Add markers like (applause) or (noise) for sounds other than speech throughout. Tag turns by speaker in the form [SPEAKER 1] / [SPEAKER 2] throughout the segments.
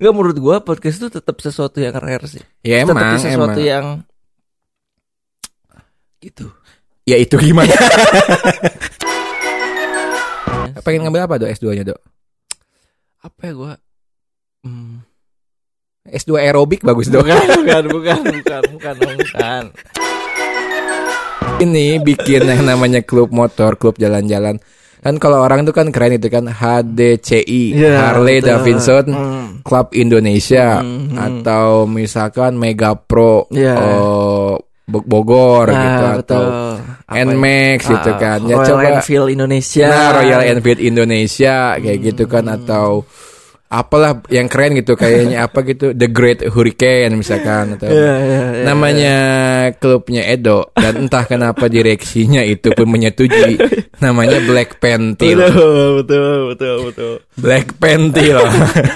[SPEAKER 1] Enggak menurut gua podcast itu tetap sesuatu yang rare sih.
[SPEAKER 2] Ya
[SPEAKER 1] Tetep
[SPEAKER 2] emang,
[SPEAKER 1] sesuatu
[SPEAKER 2] emang.
[SPEAKER 1] yang gitu.
[SPEAKER 2] Ya itu gimana? (laughs) Pengen ngambil apa, Dok? S2-nya, Dok?
[SPEAKER 1] apa ya gua? Hmm.
[SPEAKER 2] S2 aerobik bagus, Dok.
[SPEAKER 1] (laughs) Bukan, bukan, bukan, bukan, bukan, bukan.
[SPEAKER 2] (laughs) Ini bikin yang namanya klub motor, klub jalan-jalan. Kan kalau orang itu kan keren itu kan HDCI, Harley Davidson Club Indonesia
[SPEAKER 1] Hmm, hmm.
[SPEAKER 2] atau misalkan Mega Pro
[SPEAKER 1] Iya.
[SPEAKER 2] eh, Bo- Bogor gitu atau
[SPEAKER 1] Nmax
[SPEAKER 2] Nmax gitu kan. Ya
[SPEAKER 1] Ah, Royal
[SPEAKER 2] coba
[SPEAKER 1] Enfield Indonesia.
[SPEAKER 2] Nah, Royal Enfield Indonesia kayak gitu kan atau apalah yang keren gitu (laughs) kayaknya apa gitu The Great Hurricane misalkan atau
[SPEAKER 1] Iya, iya, iya.
[SPEAKER 2] namanya iya. klubnya Edo dan entah kenapa direksinya itu pun menyetujui namanya Black Pentil
[SPEAKER 1] Betul, Gitu, betul, betul, betul.
[SPEAKER 2] Black Pentil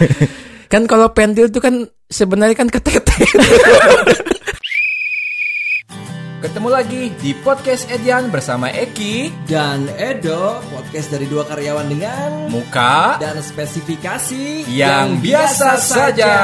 [SPEAKER 2] (laughs) kan kalau pentil itu kan sebenarnya kan ketete ketemu lagi di podcast Edian bersama Eki
[SPEAKER 3] dan Edo podcast dari dua karyawan dengan
[SPEAKER 2] muka
[SPEAKER 3] dan spesifikasi
[SPEAKER 2] yang biasa saja.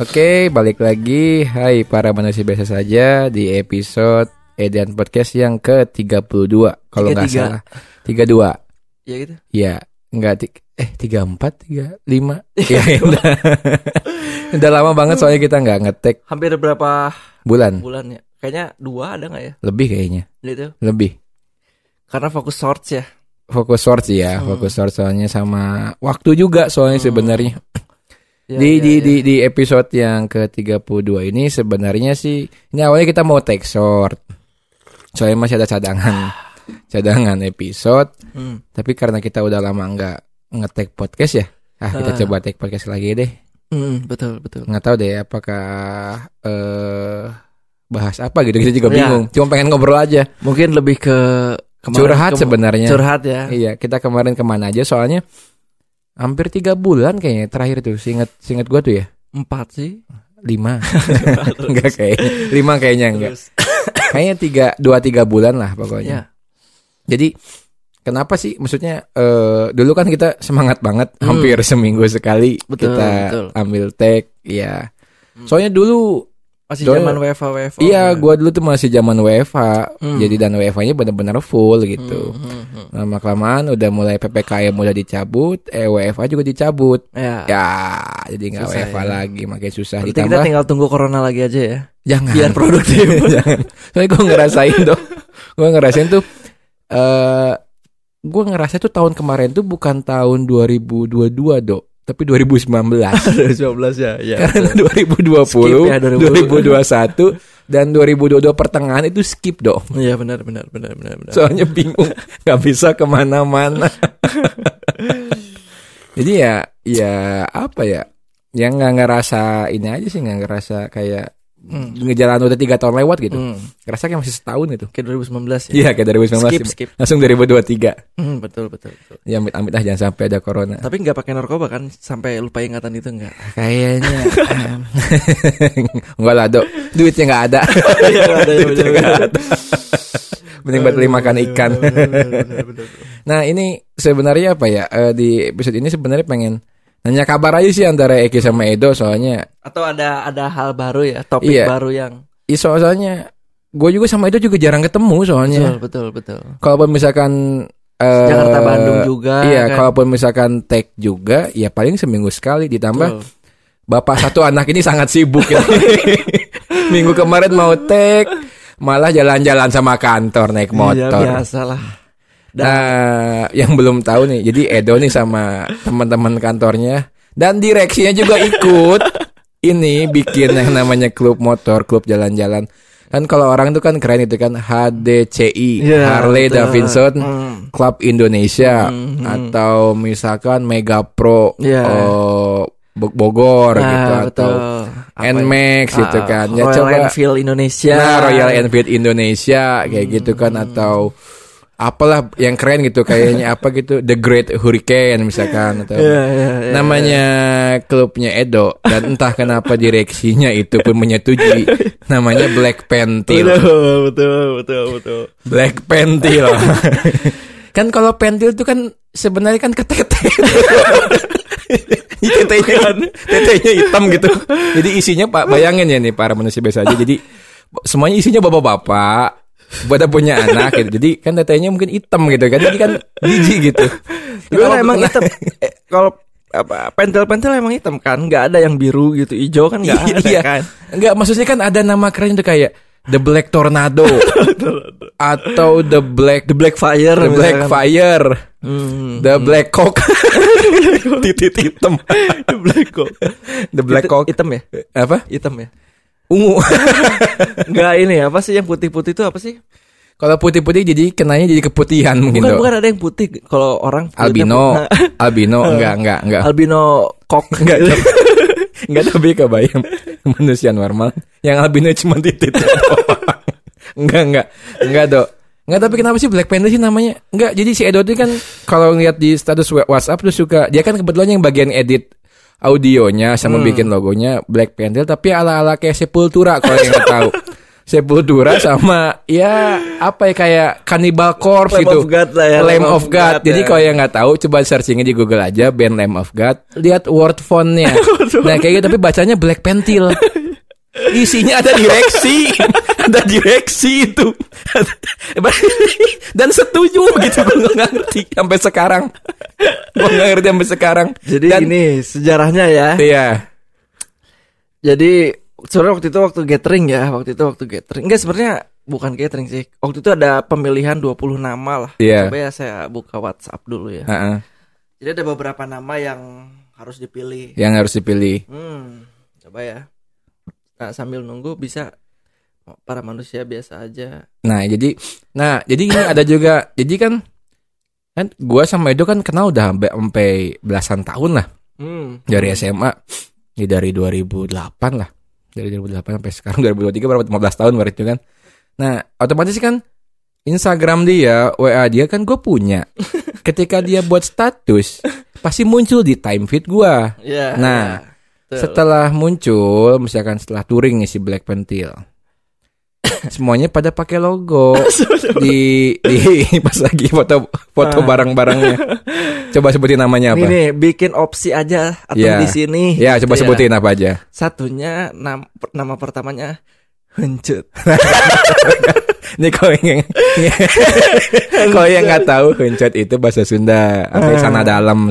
[SPEAKER 2] Oke, balik lagi. Hai para manusia biasa saja di episode Edian Podcast yang ke-32 kalau nggak
[SPEAKER 1] 33.
[SPEAKER 2] salah. 32.
[SPEAKER 1] Ya gitu.
[SPEAKER 2] Ya, enggak ti- eh 34 35. Ya, udah. (laughs) udah lama banget soalnya kita nggak ngetek
[SPEAKER 1] Hampir berapa
[SPEAKER 2] bulan.
[SPEAKER 1] bulan ya? Kayaknya dua ada nggak ya?
[SPEAKER 2] Lebih kayaknya.
[SPEAKER 1] Gitu.
[SPEAKER 2] Lebih.
[SPEAKER 1] Karena fokus shorts ya.
[SPEAKER 2] Fokus short sih ya, fokus short soalnya sama waktu juga soalnya sebenarnya.
[SPEAKER 1] Ya, ya,
[SPEAKER 2] di di
[SPEAKER 1] ya.
[SPEAKER 2] di di episode yang ke-32 ini sebenarnya sih ini awalnya kita mau take short. Soalnya masih ada cadangan. Cadangan episode,
[SPEAKER 1] Hmm.
[SPEAKER 2] tapi karena kita udah lama nggak ngetek podcast ya. Ah, kita
[SPEAKER 1] Ah.
[SPEAKER 2] coba take podcast lagi deh.
[SPEAKER 1] Hmm, betul, betul.
[SPEAKER 2] nggak tahu deh apakah eh bahas apa gitu kita juga
[SPEAKER 1] Iya.
[SPEAKER 2] bingung cuma pengen ngobrol aja
[SPEAKER 1] Mungkin lebih ke kemarin-
[SPEAKER 2] curhat
[SPEAKER 1] ke-
[SPEAKER 2] sebenarnya
[SPEAKER 1] Curhat ya.
[SPEAKER 2] iya kita kemarin kemana aja soalnya hampir tiga bulan kayaknya terakhir tuh singet singet gua tuh ya
[SPEAKER 1] Empat sih. (laughs)
[SPEAKER 2] lima enggak kayak lima kayaknya enggak
[SPEAKER 1] Terus,
[SPEAKER 2] kayaknya tiga dua tiga bulan lah pokoknya
[SPEAKER 1] ya.
[SPEAKER 2] jadi kenapa sih maksudnya eh dulu kan kita semangat banget hampir seminggu sekali
[SPEAKER 1] Hmm. Betul,
[SPEAKER 2] kita
[SPEAKER 1] betul. Hmm.
[SPEAKER 2] ambil tag ya soalnya dulu
[SPEAKER 1] Masih
[SPEAKER 2] Soalnya-
[SPEAKER 1] zaman WFA WFA.
[SPEAKER 2] Iya, gua dulu tuh masih zaman WFA.
[SPEAKER 1] Oh, Hmm.
[SPEAKER 2] Jadi dan WFA-nya benar-benar full gitu.
[SPEAKER 1] Hmm, hmm.
[SPEAKER 2] Lama kelamaan udah mulai PPKM udah dicabut, eh WFA juga dicabut.
[SPEAKER 1] Ya.
[SPEAKER 2] Ya, jadi nggak
[SPEAKER 1] Susah
[SPEAKER 2] WFA
[SPEAKER 1] ya.
[SPEAKER 2] lagi, makin susah
[SPEAKER 1] Berarti kita
[SPEAKER 2] ditambah.
[SPEAKER 1] tinggal tunggu corona lagi aja
[SPEAKER 2] (laughs)
[SPEAKER 1] ya.
[SPEAKER 2] jangan.
[SPEAKER 1] Biar produktif.
[SPEAKER 2] (laughs) jangan. Soalnya gua ngerasain tuh, gua ngerasain tuh eh gua ngerasa tuh tahun kemarin tuh bukan tahun 2022, Dok, tapi
[SPEAKER 1] (laughs)
[SPEAKER 2] 2019.
[SPEAKER 1] 2019 ya. ya.
[SPEAKER 2] Karena 2020,
[SPEAKER 1] Skip ya,
[SPEAKER 2] 2021 dan 2022 pertengahan itu skip dong.
[SPEAKER 1] (laughs) Iya benar benar benar benar benar.
[SPEAKER 2] Soalnya bingung, nggak bisa
[SPEAKER 1] (laughs)
[SPEAKER 2] kemana-mana. Jadi ya, ya apa ya? Yang nggak ngerasa ini aja sih nggak ngerasa kayak
[SPEAKER 1] Hmm.
[SPEAKER 2] ngejalan udah tiga tahun lewat gitu.
[SPEAKER 1] Hmm.
[SPEAKER 2] Ngerasa kayak masih setahun gitu.
[SPEAKER 1] Kayak 2019 ya.
[SPEAKER 2] Iya kayak
[SPEAKER 1] Skip
[SPEAKER 2] 2019
[SPEAKER 1] skip.
[SPEAKER 2] langsung 2023.
[SPEAKER 1] Hmm, betul betul betul.
[SPEAKER 2] Ya amit-amit ah jangan sampai ada corona.
[SPEAKER 1] Tapi nggak pakai narkoba kan sampai lupa ingatan itu nggak?
[SPEAKER 2] (laughs) Kayaknya Enggak lah dok Duitnya nggak ada
[SPEAKER 1] (laughs) Iya, nggak ada, iya,
[SPEAKER 2] Duitnya
[SPEAKER 1] bener,
[SPEAKER 2] nggak ada Mending buat beli makan ikan Nah ini sebenarnya apa ya Eh, Di episode ini sebenarnya pengen Nanya kabar aja sih antara Eki sama Edo Soalnya
[SPEAKER 1] Atau ada ada hal baru ya, topik
[SPEAKER 2] Iya.
[SPEAKER 1] baru yang
[SPEAKER 2] i- Soalnya Gue juga sama Edo juga jarang ketemu
[SPEAKER 1] betul
[SPEAKER 2] soalnya
[SPEAKER 1] betul betul.
[SPEAKER 2] Kalaupun misalkan eh,
[SPEAKER 1] Jakarta Bandung juga.
[SPEAKER 2] Iya
[SPEAKER 1] kan?
[SPEAKER 2] kalaupun misalkan tag juga Ya paling seminggu sekali Ditambah
[SPEAKER 1] Betul.
[SPEAKER 2] Bapak satu anak ini sangat
[SPEAKER 1] (laughs)
[SPEAKER 2] sibuk ya. Minggu kemarin mau take malah jalan-jalan sama kantor naik
[SPEAKER 1] Iya,
[SPEAKER 2] motor.
[SPEAKER 1] biasa lah.
[SPEAKER 2] nah, yang belum tahu nih. Jadi Edo nih sama teman-teman kantornya dan direksinya juga ikut. Ini bikin yang namanya klub motor, klub jalan-jalan. Kan kalau orang itu kan keren itu kan HDCI,
[SPEAKER 1] Iya,
[SPEAKER 2] Harley
[SPEAKER 1] betul.
[SPEAKER 2] Davidson
[SPEAKER 1] Hmm.
[SPEAKER 2] Club Indonesia atau misalkan Mega Pro
[SPEAKER 1] Iya.
[SPEAKER 2] eh, Bo- Bogor
[SPEAKER 1] Nah,
[SPEAKER 2] gitu atau
[SPEAKER 1] betul. Apa ya?
[SPEAKER 2] Nmax gitu
[SPEAKER 1] Ah,
[SPEAKER 2] kan. Ya
[SPEAKER 1] Royal
[SPEAKER 2] coba
[SPEAKER 1] Enfield Indonesia. Iya,
[SPEAKER 2] nah Royal Enfield Indonesia kayak gitu kan atau apalah yang keren gitu kayaknya apa gitu The Great Hurricane misalkan atau apa.
[SPEAKER 1] Iya, iya, iya.
[SPEAKER 2] namanya klubnya Edo dan entah kenapa direksinya itu pun menyetujui namanya Black Pentil
[SPEAKER 1] Betul, betul, betul, betul.
[SPEAKER 2] Black Pentil (laughs) kan kalau pentil itu kan sebenarnya kan ketete (laughs) Iya, tetenya, kan. tetenya hitam gitu jadi isinya pak bayangin ya nih para manusia biasa aja jadi semuanya isinya bapak-bapak pada punya anak gitu. Jadi kan tetenya mungkin hitam gitu kan. Jadi kan jijik gitu.
[SPEAKER 1] Gue
[SPEAKER 2] Kalau
[SPEAKER 1] emang
[SPEAKER 2] kena-
[SPEAKER 1] hitam. (laughs) Eh, kalau apa pentil-pentil emang hitam kan? Gak ada yang biru gitu, hijau kan gak ada
[SPEAKER 2] (laughs) iya.
[SPEAKER 1] kan?
[SPEAKER 2] Enggak, maksudnya kan ada nama keren tuh kayak The Black Tornado (laughs) atau The Black
[SPEAKER 1] The Black Fire,
[SPEAKER 2] The Black
[SPEAKER 1] misalkan.
[SPEAKER 2] Fire,
[SPEAKER 1] Hmm.
[SPEAKER 2] The Black Cock. (laughs) Titit hitam.
[SPEAKER 1] The Black (laughs) Cock.
[SPEAKER 2] The Black
[SPEAKER 1] Hitam-
[SPEAKER 2] Cock.
[SPEAKER 1] Hitam ya?
[SPEAKER 2] Apa?
[SPEAKER 1] Hitam ya? (laughs)
[SPEAKER 2] Ungu. (laughs)
[SPEAKER 1] Enggak ini apa sih yang putih-putih itu apa sih?
[SPEAKER 2] Kalau putih-putih jadi kenanya jadi keputihan mungkin
[SPEAKER 1] Bukan
[SPEAKER 2] Dok.
[SPEAKER 1] bukan ada yang putih kalau orang kulitnya Nah,
[SPEAKER 2] Albino.
[SPEAKER 1] putih. (laughs)
[SPEAKER 2] Albino enggak enggak enak
[SPEAKER 1] Nah, albino
[SPEAKER 2] (laughs)
[SPEAKER 1] kok
[SPEAKER 2] Enggak Enggak tapi kebayang manusia normal yang albino cuma titik. enggak enggak enggak dok. Enggak tapi kenapa sih Black Panther sih namanya? Enggak jadi si Edo itu kan kalau ngeliat di status wa- WhatsApp tuh suka dia kan kebetulan yang bagian edit audionya sama bikin logonya Black Panther tapi ala-ala kayak Sepultura kalau yang nggak tahu. Sepultura sama ya apa ya kayak Cannibal
[SPEAKER 1] (laughs)
[SPEAKER 2] Corpse
[SPEAKER 1] Lamb
[SPEAKER 2] gitu.
[SPEAKER 1] of God lah ya,
[SPEAKER 2] Lamb of God. Jadi
[SPEAKER 1] ya.
[SPEAKER 2] kalau yang nggak tahu coba searchingnya di Google aja band Lamb of God, lihat (laughs) word fontnya. nah kayak gitu tapi bacanya Black (laughs) Pentil. Isinya ada direksi, (laughs) ada direksi itu. (laughs) Dan setuju gitu gue nggak ngerti sampai sekarang. Gue nggak ngerti sampai sekarang.
[SPEAKER 1] Jadi
[SPEAKER 2] Dan-
[SPEAKER 1] ini sejarahnya ya.
[SPEAKER 2] Iya.
[SPEAKER 1] Jadi sebenarnya waktu itu waktu gathering ya, waktu itu waktu gathering. Enggak sebenarnya bukan gathering sih. Waktu itu ada pemilihan 20 nama lah.
[SPEAKER 2] Iya.
[SPEAKER 1] Coba ya saya buka WhatsApp dulu ya.
[SPEAKER 2] Heeh.
[SPEAKER 1] Jadi ada beberapa nama yang harus dipilih.
[SPEAKER 2] Yang harus dipilih.
[SPEAKER 1] Hmm, coba ya. Nah, sambil nunggu bisa para manusia biasa aja.
[SPEAKER 2] Nah, jadi nah, jadi ini ada juga jadi kan kan gua sama Edo kan kenal udah sampai- sampai belasan tahun lah
[SPEAKER 1] Hmm.
[SPEAKER 2] dari SMA. Ya dari 2008 lah. Dari 2008 sampai sekarang (laughs) 2023 berapa 15 tahun baru itu kan. Nah, otomatis kan Instagram dia, WA dia kan gue punya. Ketika dia buat status, pasti muncul di time feed gua.
[SPEAKER 1] Iya.
[SPEAKER 2] Nah,
[SPEAKER 1] Betul.
[SPEAKER 2] Setelah muncul, misalkan setelah touring nih si Black Pentil. Semuanya pada pakai logo
[SPEAKER 1] (laughs)
[SPEAKER 2] di (laughs) di pas lagi foto foto
[SPEAKER 1] Ah.
[SPEAKER 2] barang-barangnya. Coba sebutin
[SPEAKER 1] Ini
[SPEAKER 2] namanya apa?
[SPEAKER 1] nih, bikin opsi aja atau
[SPEAKER 2] Iya.
[SPEAKER 1] di sini.
[SPEAKER 2] Ya, coba
[SPEAKER 1] Gitu
[SPEAKER 2] sebutin apa aja.
[SPEAKER 1] Satunya nam- nama pertamanya Huncut.
[SPEAKER 2] Ini kalau yang
[SPEAKER 1] (laughs)
[SPEAKER 2] kalau yang nggak tahu huncut itu bahasa Sunda atau sana dalam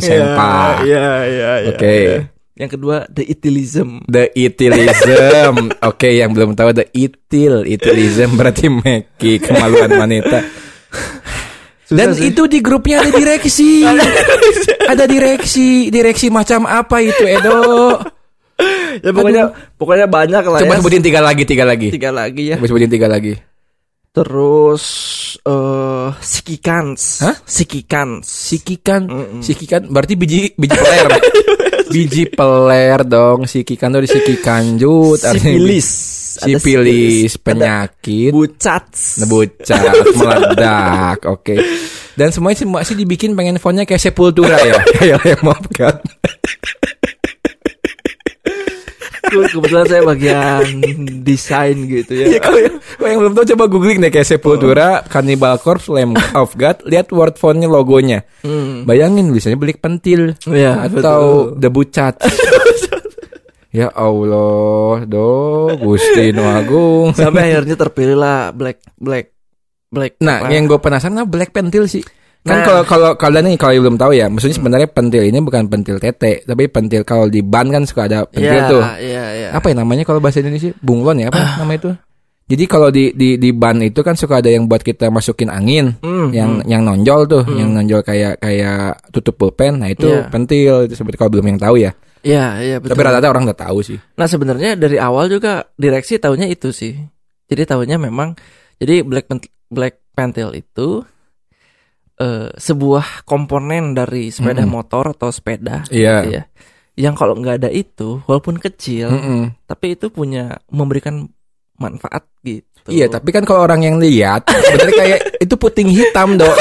[SPEAKER 1] Ah.
[SPEAKER 2] sempa.
[SPEAKER 1] Iya, iya, iya.
[SPEAKER 2] Oke.
[SPEAKER 1] Yang kedua the itilism.
[SPEAKER 2] The
[SPEAKER 1] (laughs)
[SPEAKER 2] itilism. Oke, yang belum tahu the itil, itilism berarti meki kemaluan wanita. Dan itu di grupnya ada
[SPEAKER 1] (laughs)
[SPEAKER 2] direksi. ada direksi, direksi macam apa itu Edo?
[SPEAKER 1] Ya pokoknya pokoknya banyak lah
[SPEAKER 2] Coba
[SPEAKER 1] ya.
[SPEAKER 2] sebutin tiga lagi, tiga lagi.
[SPEAKER 1] tiga lagi ya.
[SPEAKER 2] Coba sebutin tiga lagi.
[SPEAKER 1] Terus eh sikikans.
[SPEAKER 2] Hah?
[SPEAKER 1] Sikikans.
[SPEAKER 2] Sikikan, sikikan berarti biji biji
[SPEAKER 1] (laughs)
[SPEAKER 2] peler. biji peler dong, sikikan tuh disikikanjut artinya bi-
[SPEAKER 1] sipilis. Ada
[SPEAKER 2] Sipilis,
[SPEAKER 1] Ada
[SPEAKER 2] penyakit,
[SPEAKER 1] bucats. (laughs)
[SPEAKER 2] bucat, meledak, oke. Dan semuanya sih- masih dibikin pengen fontnya kayak sepultura
[SPEAKER 1] (laughs)
[SPEAKER 2] ya, kayak Lamb of God.
[SPEAKER 1] Ke- Kebetulan saya bagian desain gitu ya. Oh.
[SPEAKER 2] Ya, kalau yang, kalau yang belum tahu coba googling deh kayak Sepultura, Cannibal Corpse, Lamb of God, lihat word fontnya logonya.
[SPEAKER 1] Hmm.
[SPEAKER 2] Bayangin biasanya beli pentil
[SPEAKER 1] Iya,
[SPEAKER 2] atau debu cat. (laughs) ya Allah, do Gusti Nu Agung.
[SPEAKER 1] Sampai akhirnya terpilih lah Black Black Black.
[SPEAKER 2] Nah,
[SPEAKER 1] apa?
[SPEAKER 2] yang gue penasaran apa black pentil sih. Kan
[SPEAKER 1] Nah.
[SPEAKER 2] kalau kalau kalian nih kalau belum tahu ya, maksudnya sebenarnya pentil ini bukan pentil tete, tapi pentil kalau di ban kan suka ada pentil
[SPEAKER 1] Iya,
[SPEAKER 2] tuh.
[SPEAKER 1] Iya, iya.
[SPEAKER 2] apa ya namanya kalau bahasa Indonesia bunglon
[SPEAKER 1] Ah.
[SPEAKER 2] ya apa nama itu jadi kalau di di di ban itu kan suka ada yang buat kita masukin angin
[SPEAKER 1] Hmm,
[SPEAKER 2] yang yang nonjol tuh yang nonjol kayak kayak tutup pulpen nah itu
[SPEAKER 1] Iya.
[SPEAKER 2] pentil itu seperti kalau belum yang tahu ya
[SPEAKER 1] Iya, iya betul.
[SPEAKER 2] tapi rata-rata orang udah tahu sih
[SPEAKER 1] Nah sebenarnya dari awal juga direksi tahunya itu sih. Jadi tahunya memang jadi Black Pant- Black Pantel itu eh, sebuah komponen dari sepeda
[SPEAKER 2] Mm-mm.
[SPEAKER 1] motor atau sepeda, gitu
[SPEAKER 2] Hmm. iya
[SPEAKER 1] ya.
[SPEAKER 2] Hmm.
[SPEAKER 1] Yang kalau nggak ada itu, walaupun kecil,
[SPEAKER 2] Mm-mm.
[SPEAKER 1] tapi itu punya memberikan manfaat gitu.
[SPEAKER 2] Iya, tapi kan kalau orang yang lihat sebenarnya (laughs) kayak itu puting hitam, Dok.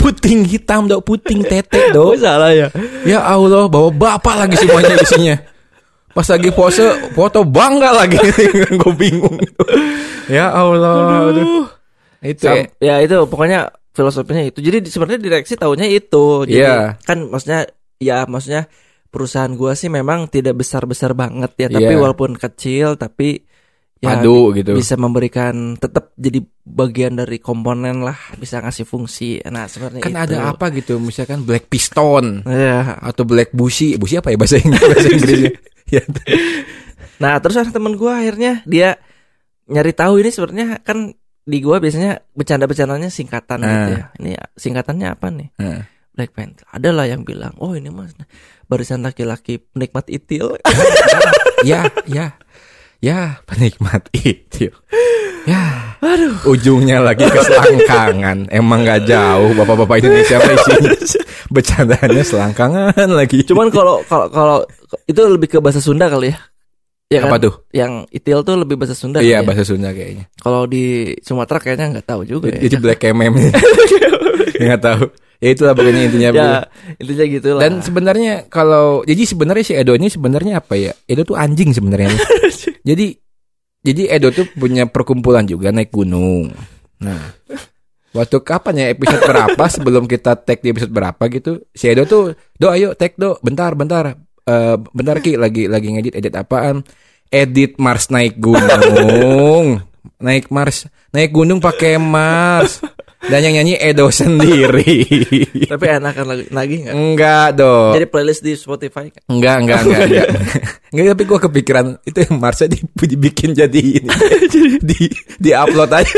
[SPEAKER 2] puting hitam, Dok. Puting tete,
[SPEAKER 1] Oh,
[SPEAKER 2] Dok.
[SPEAKER 1] salah ya.
[SPEAKER 2] Ya Allah, bawa bapak lagi semuanya isinya. Pas lagi pose, foto bangga lagi. (laughs) Gue bingung. Ya Allah. aduh. Itu ya.
[SPEAKER 1] Sam- ya itu pokoknya filosofinya itu. Jadi di- sebenarnya direksi tahunya itu. Jadi
[SPEAKER 2] Iya.
[SPEAKER 1] kan maksudnya ya maksudnya perusahaan gua sih memang tidak besar-besar banget ya, tapi
[SPEAKER 2] Iya.
[SPEAKER 1] walaupun kecil tapi ya
[SPEAKER 2] padu gitu.
[SPEAKER 1] bisa memberikan tetap jadi bagian dari komponen lah, bisa ngasih fungsi. Nah, sebenarnya
[SPEAKER 2] Kan
[SPEAKER 1] itu.
[SPEAKER 2] ada apa gitu, misalkan black piston
[SPEAKER 1] Ya.
[SPEAKER 2] atau black busi. Busi apa ya bahasa Inggris? (laughs) Bahasa Inggrisnya. Ya.
[SPEAKER 1] Nah, terus ada temen gua akhirnya dia nyari tahu ini sebenarnya kan di gua biasanya bercanda-bercandanya singkatan gitu
[SPEAKER 2] Ah.
[SPEAKER 1] ya. Ini singkatannya apa nih?
[SPEAKER 2] Nah.
[SPEAKER 1] Black Panther. Ada lah yang bilang, oh ini mas barisan laki-laki penikmat (laughs) itil.
[SPEAKER 2] (laughs) ya, ya, ya, penikmat (laughs) itu. Ya, aduh. Ujungnya lagi ke selangkangan. Emang nggak jauh, bapak-bapak Indonesia apa
[SPEAKER 1] (laughs)
[SPEAKER 2] isinya? Bercandanya selangkangan lagi.
[SPEAKER 1] Cuman kalau kalau kalau itu lebih ke bahasa Sunda kali ya. Ya
[SPEAKER 2] apa
[SPEAKER 1] kan?
[SPEAKER 2] tuh?
[SPEAKER 1] Yang itil tuh lebih bahasa Sunda. kali
[SPEAKER 2] Iya,
[SPEAKER 1] ya?
[SPEAKER 2] bahasa Sunda kayaknya.
[SPEAKER 1] Kalau di Sumatera kayaknya nggak tahu juga ya. (laughs)
[SPEAKER 2] Jadi black MM (laughs) Nggak tahu. Ya itulah pokoknya intinya.
[SPEAKER 1] ya, intinya gitu lah.
[SPEAKER 2] Dan sebenarnya kalau jadi sebenarnya si Edo ini sebenarnya apa ya? Edo tuh anjing sebenarnya. jadi jadi Edo tuh punya perkumpulan juga naik gunung. Nah, waktu kapan ya episode berapa sebelum kita tag di episode berapa gitu? Si Edo tuh, "Do ayo tag Do, bentar bentar. Eh, bentar Ki lagi lagi ngedit edit apaan?" Edit Mars naik gunung. naik Mars, naik gunung pakai Mars. Dan yang nyanyi Edo sendiri.
[SPEAKER 1] Tapi enakan lagi lagi nggak?
[SPEAKER 2] Enggak dong.
[SPEAKER 1] Jadi playlist di Spotify nggak?
[SPEAKER 2] Enggak, enggak, enggak, enggak. Enggak, (laughs) tapi gue kepikiran itu yang Marsnya di- dibikin (laughs) jadi ini. di di upload aja.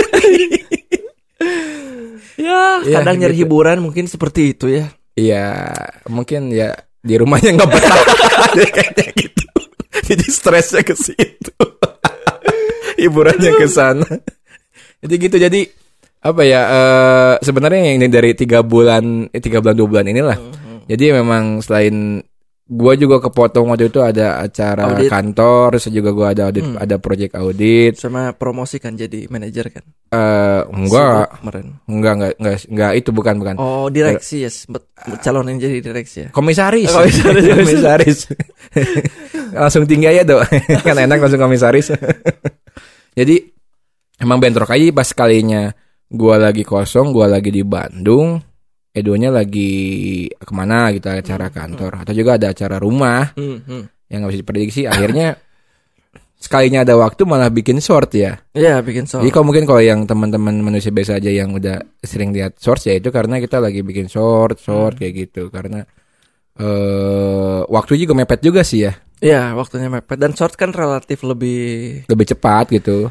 [SPEAKER 1] Ya,
[SPEAKER 2] Ya,
[SPEAKER 1] kadang nyari
[SPEAKER 2] gitu.
[SPEAKER 1] hiburan mungkin seperti itu ya.
[SPEAKER 2] Iya, mungkin ya di rumahnya enggak
[SPEAKER 1] (laughs)
[SPEAKER 2] betah. Dia Kayaknya gitu. Jadi stresnya ke
[SPEAKER 1] (laughs)
[SPEAKER 2] situ. Hiburannya ke sana. Jadi gitu, jadi apa ya eh, sebenarnya yang ini dari tiga bulan eh, tiga bulan dua bulan inilah
[SPEAKER 1] Hmm,
[SPEAKER 2] Jadi memang selain gua juga kepotong waktu itu ada acara
[SPEAKER 1] Audit.
[SPEAKER 2] kantor, terus juga gua ada audit,
[SPEAKER 1] Hmm.
[SPEAKER 2] ada project audit.
[SPEAKER 1] Sama promosi kan jadi manajer kan.
[SPEAKER 2] Eh enggak,
[SPEAKER 1] Sibuk kemarin.
[SPEAKER 2] enggak, enggak, enggak, enggak, itu bukan bukan.
[SPEAKER 1] Oh, direksi ya, sempet calon yang jadi direksi ya.
[SPEAKER 2] Komisaris.
[SPEAKER 1] Oh, komisaris.
[SPEAKER 2] (laughs) Komisaris. langsung tinggi aja tuh. (laughs) kan enak langsung komisaris. (laughs) Jadi emang bentrok aja pas kalinya gua lagi kosong, gua lagi di Bandung, Edonya lagi kemana gitu acara kantor atau juga ada acara rumah.
[SPEAKER 1] Hmm, hmm.
[SPEAKER 2] yang nggak bisa diprediksi akhirnya sekalinya ada waktu malah bikin short ya
[SPEAKER 1] Iya, bikin soal.
[SPEAKER 2] jadi kalau mungkin kalau yang teman-teman manusia biasa aja yang udah sering lihat short ya itu karena kita lagi bikin short short
[SPEAKER 1] Hmm.
[SPEAKER 2] kayak gitu karena eh waktu juga mepet juga sih ya
[SPEAKER 1] Iya, waktunya mepet dan short kan relatif lebih
[SPEAKER 2] lebih cepat gitu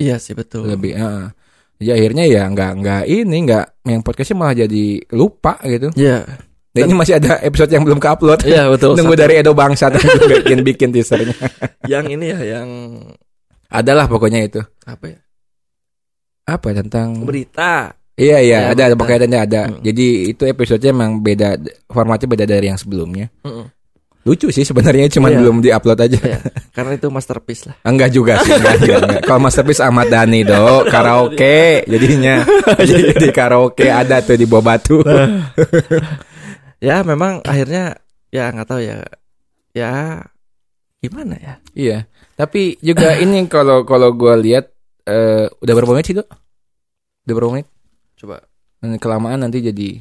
[SPEAKER 1] iya sih betul.
[SPEAKER 2] lebih eh. jadi akhirnya ya nggak nggak ini nggak yang podcastnya malah jadi lupa gitu
[SPEAKER 1] Iya.
[SPEAKER 2] dan ini masih ada episode yang belum keupload
[SPEAKER 1] Iya, betul.
[SPEAKER 2] nunggu
[SPEAKER 1] Satu-
[SPEAKER 2] dari Edo Bangsa
[SPEAKER 1] (laughs)
[SPEAKER 2] bikin bikin teasernya
[SPEAKER 1] yang ini ya yang
[SPEAKER 2] adalah pokoknya itu
[SPEAKER 1] apa ya?
[SPEAKER 2] apa tentang
[SPEAKER 1] Berita.
[SPEAKER 2] Iya iya
[SPEAKER 1] Ya,
[SPEAKER 2] ada ada
[SPEAKER 1] betul.
[SPEAKER 2] pengkaitannya ada.
[SPEAKER 1] Mm.
[SPEAKER 2] Jadi itu episodenya emang beda formatnya beda dari yang sebelumnya.
[SPEAKER 1] Mm-mm.
[SPEAKER 2] Lucu sih sebenarnya cuman
[SPEAKER 1] Iya.
[SPEAKER 2] belum diupload aja.
[SPEAKER 1] Iya, karena itu masterpiece lah.
[SPEAKER 2] Enggak juga sih enggak, enggak, enggak. Kalau masterpiece Ahmad Dhani do karaoke jadinya jadi di karaoke ada tuh di bawah batu.
[SPEAKER 1] Ya, memang akhirnya ya nggak tahu ya. Ya gimana ya?
[SPEAKER 2] iya. Tapi juga ini kalau kalau gua lihat eh, udah berapa menit sih do? Udah berapa menit?
[SPEAKER 1] Coba.
[SPEAKER 2] Hmm, Kelamaan nanti jadi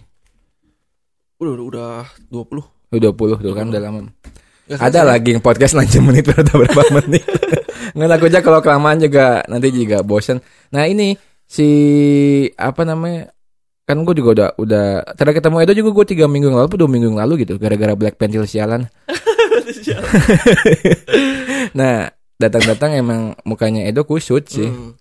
[SPEAKER 1] Udah udah 20.
[SPEAKER 2] udah 20 tuh kan udah lama.
[SPEAKER 1] Nggak
[SPEAKER 2] Ada
[SPEAKER 1] kerasa.
[SPEAKER 2] lagi yang podcast (laughs) lanjut menit berapa berapa menit. Nggak takutnya kalau kelamaan juga nanti juga bosen. Nah ini si apa namanya kan gue juga udah udah terakhir ketemu Edo juga gue tiga minggu yang lalu, apa dua minggu yang lalu gitu gara-gara Black Pentil sialan. (laughs) nah datang-datang emang mukanya Edo kusut sih.
[SPEAKER 1] Hmm,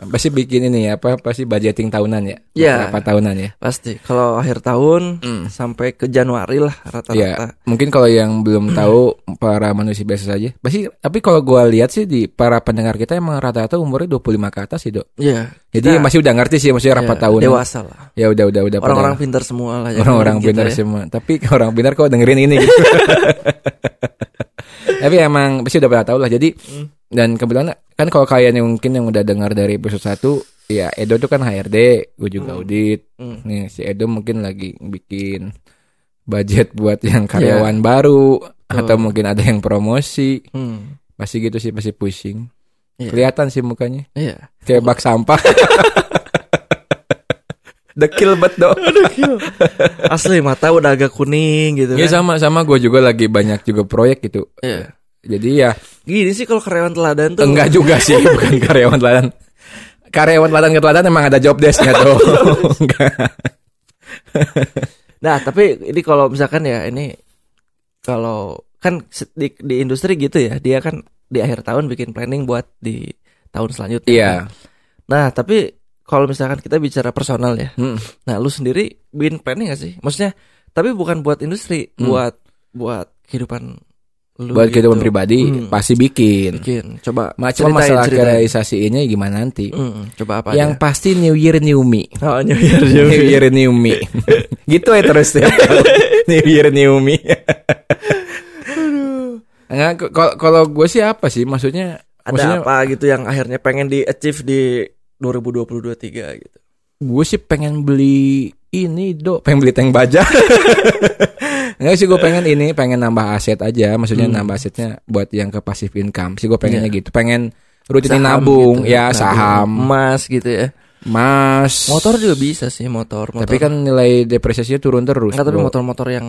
[SPEAKER 2] Pasti bikin ini ya apa pasti budgeting tahunan ya.
[SPEAKER 1] Iya.
[SPEAKER 2] Apa tahunan ya.
[SPEAKER 1] pasti. Kalau akhir tahun
[SPEAKER 2] Hmm.
[SPEAKER 1] sampai ke Januari lah rata-rata.
[SPEAKER 2] Mungkin kalau yang
[SPEAKER 1] (clears throat)
[SPEAKER 2] belum tahu para manusia biasa saja. Pasti tapi kalau gua lihat sih di para pendengar kita emang rata-rata umurnya 25 ke atas sih, Dok.
[SPEAKER 1] Iya.
[SPEAKER 2] Jadi
[SPEAKER 1] Kita-
[SPEAKER 2] masih udah ngerti sih maksudnya rapat
[SPEAKER 1] ya,
[SPEAKER 2] tahun.
[SPEAKER 1] Dewasa lah.
[SPEAKER 2] Ya udah udah udah
[SPEAKER 1] Orang-orang
[SPEAKER 2] pada-
[SPEAKER 1] pintar semua lah ya.
[SPEAKER 2] Iya, orang-orang
[SPEAKER 1] Kita
[SPEAKER 2] benar
[SPEAKER 1] ya.
[SPEAKER 2] semua. Tapi (laughs) orang
[SPEAKER 1] (laughs)
[SPEAKER 2] benar
[SPEAKER 1] Hmm.
[SPEAKER 2] kok dengerin ini gitu. tapi emang pasti udah pada tahu lah. Jadi dan kebetulan kan kalau kalian yang mungkin yang udah dengar dari episode 1 ya Edo tuh kan HRD, gue juga
[SPEAKER 1] Hmm.
[SPEAKER 2] audit.
[SPEAKER 1] Hmm.
[SPEAKER 2] Nih si Edo mungkin lagi bikin budget buat yang
[SPEAKER 1] Iya.
[SPEAKER 2] karyawan baru atau mungkin ada yang promosi.
[SPEAKER 1] Hmm.
[SPEAKER 2] Pasti gitu sih pasti pusing.
[SPEAKER 1] Iya.
[SPEAKER 2] Kelihatan sih mukanya
[SPEAKER 1] Iya.
[SPEAKER 2] kayak bak sampah.
[SPEAKER 1] (laughs)
[SPEAKER 2] Dekil bet dong.
[SPEAKER 1] Asli mata udah agak kuning gitu
[SPEAKER 2] Ya
[SPEAKER 1] kan.
[SPEAKER 2] sama sama gue juga lagi banyak juga proyek gitu.
[SPEAKER 1] Iya.
[SPEAKER 2] Jadi ya
[SPEAKER 1] Gini sih kalau karyawan teladan tuh.
[SPEAKER 2] enggak juga sih (laughs) bukan karyawan teladan. Karyawan teladan ke teladan emang ada job desk-nya
[SPEAKER 1] (laughs)
[SPEAKER 2] tuh. Enggak.
[SPEAKER 1] Nah, tapi ini kalau misalkan ya ini kalau kan se- di, di industri gitu ya, dia kan di akhir tahun bikin planning buat di tahun selanjutnya.
[SPEAKER 2] Iya.
[SPEAKER 1] Nah, tapi kalau misalkan kita bicara personal ya.
[SPEAKER 2] Mm.
[SPEAKER 1] Nah, lu sendiri bikin planning gak sih? Maksudnya tapi bukan buat industri,
[SPEAKER 2] Hmm.
[SPEAKER 1] buat buat kehidupan lu.
[SPEAKER 2] Buat
[SPEAKER 1] gitu.
[SPEAKER 2] kehidupan pribadi
[SPEAKER 1] Hmm.
[SPEAKER 2] pasti bikin.
[SPEAKER 1] bikin. Coba
[SPEAKER 2] Macam
[SPEAKER 1] ceritain,
[SPEAKER 2] masalah
[SPEAKER 1] ceritain.
[SPEAKER 2] realisasi ini gimana nanti?
[SPEAKER 1] Hmm, coba apa
[SPEAKER 2] Yang
[SPEAKER 1] aja?
[SPEAKER 2] pasti new year new me.
[SPEAKER 1] Oh, New Year, New
[SPEAKER 2] New
[SPEAKER 1] Year.
[SPEAKER 2] year new me.
[SPEAKER 1] (laughs)
[SPEAKER 2] gitu ya terus ya. new year new me. Enggak k- kalau kalau gue sih apa sih maksudnya
[SPEAKER 1] Ada
[SPEAKER 2] maksudnya
[SPEAKER 1] apa gitu yang akhirnya pengen di achieve di 2022-23 gitu.
[SPEAKER 2] gue sih pengen beli ini do pengen beli tank baja (laughs) Enggak sih gue pengen ini pengen nambah aset aja maksudnya
[SPEAKER 1] Hmm.
[SPEAKER 2] nambah asetnya buat yang ke passive income sih gue pengennya
[SPEAKER 1] Iya.
[SPEAKER 2] gitu pengen rutin
[SPEAKER 1] Saham
[SPEAKER 2] nabung
[SPEAKER 1] gitu.
[SPEAKER 2] ya
[SPEAKER 1] Nabung.
[SPEAKER 2] saham
[SPEAKER 1] emas gitu ya.
[SPEAKER 2] mas
[SPEAKER 1] Motor juga bisa sih motor, motor.
[SPEAKER 2] tapi kan nilai depresiasinya turun terus
[SPEAKER 1] Enggak, tapi
[SPEAKER 2] bro.
[SPEAKER 1] motor-motor yang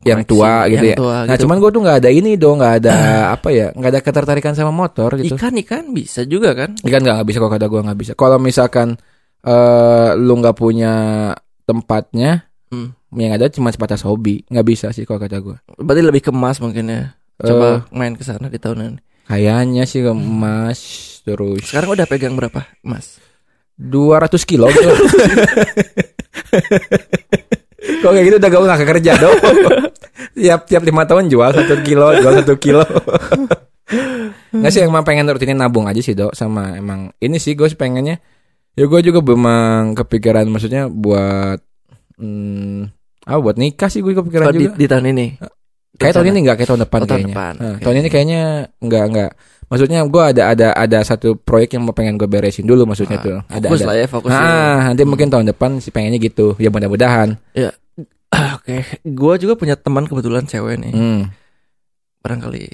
[SPEAKER 2] Yang tua
[SPEAKER 1] koleksi,
[SPEAKER 2] gitu
[SPEAKER 1] yang
[SPEAKER 2] ya.
[SPEAKER 1] tua
[SPEAKER 2] nah
[SPEAKER 1] gitu.
[SPEAKER 2] cuman gue tuh nggak ada ini do nggak
[SPEAKER 1] (clears throat)
[SPEAKER 2] ada apa ya nggak ada ketertarikan sama motor gitu
[SPEAKER 1] ikan-ikan bisa juga kan?
[SPEAKER 2] Ya kan nggak nggak bisa kalau kata gue nggak bisa. Kalau misalkan eh lu nggak punya tempatnya,
[SPEAKER 1] Hmm.
[SPEAKER 2] yang ada cuma sebatas hobi, nggak bisa sih kalau kata gue.
[SPEAKER 1] Berarti lebih ke emas mungkin ya.
[SPEAKER 2] Eh,
[SPEAKER 1] Coba main ke sana di tahun ini.
[SPEAKER 2] kayaknya sih ke emas terus.
[SPEAKER 1] Sekarang udah pegang berapa, Mas?
[SPEAKER 2] 200 kilo.
[SPEAKER 1] (laughs)
[SPEAKER 2] gitu. kalau kayak gitu udah gak usah kerja dong. tiap tiap lima tahun jual satu kilo, jual satu kilo. Nggak sih emang pengen rutinin nabung aja sih dok sama emang ini sih gue pengennya ya gue juga memang kepikiran maksudnya buat hmm, ah buat nikah sih gue
[SPEAKER 1] Oh,
[SPEAKER 2] kepikiran
[SPEAKER 1] di,
[SPEAKER 2] juga Eh,
[SPEAKER 1] di tahun ini.
[SPEAKER 2] kayak tahun
[SPEAKER 1] Rencana.
[SPEAKER 2] ini nggak kayak tahun depan
[SPEAKER 1] Oh, tahun
[SPEAKER 2] kayaknya
[SPEAKER 1] depan.
[SPEAKER 2] Nah,
[SPEAKER 1] Oke.
[SPEAKER 2] tahun ini kayaknya nggak nggak maksudnya gue ada ada ada satu proyek yang mau pengen gue beresin dulu maksudnya
[SPEAKER 1] Ah,
[SPEAKER 2] tuh Gitu. ada
[SPEAKER 1] Fokus
[SPEAKER 2] ada
[SPEAKER 1] lah ya, fokus. dulu.
[SPEAKER 2] Nah, nanti mungkin tahun depan sih pengennya gitu. Ya mudah-mudahan.
[SPEAKER 1] Ah, Oke, gua juga punya teman kebetulan cewek nih.
[SPEAKER 2] Hmm.
[SPEAKER 1] Barangkali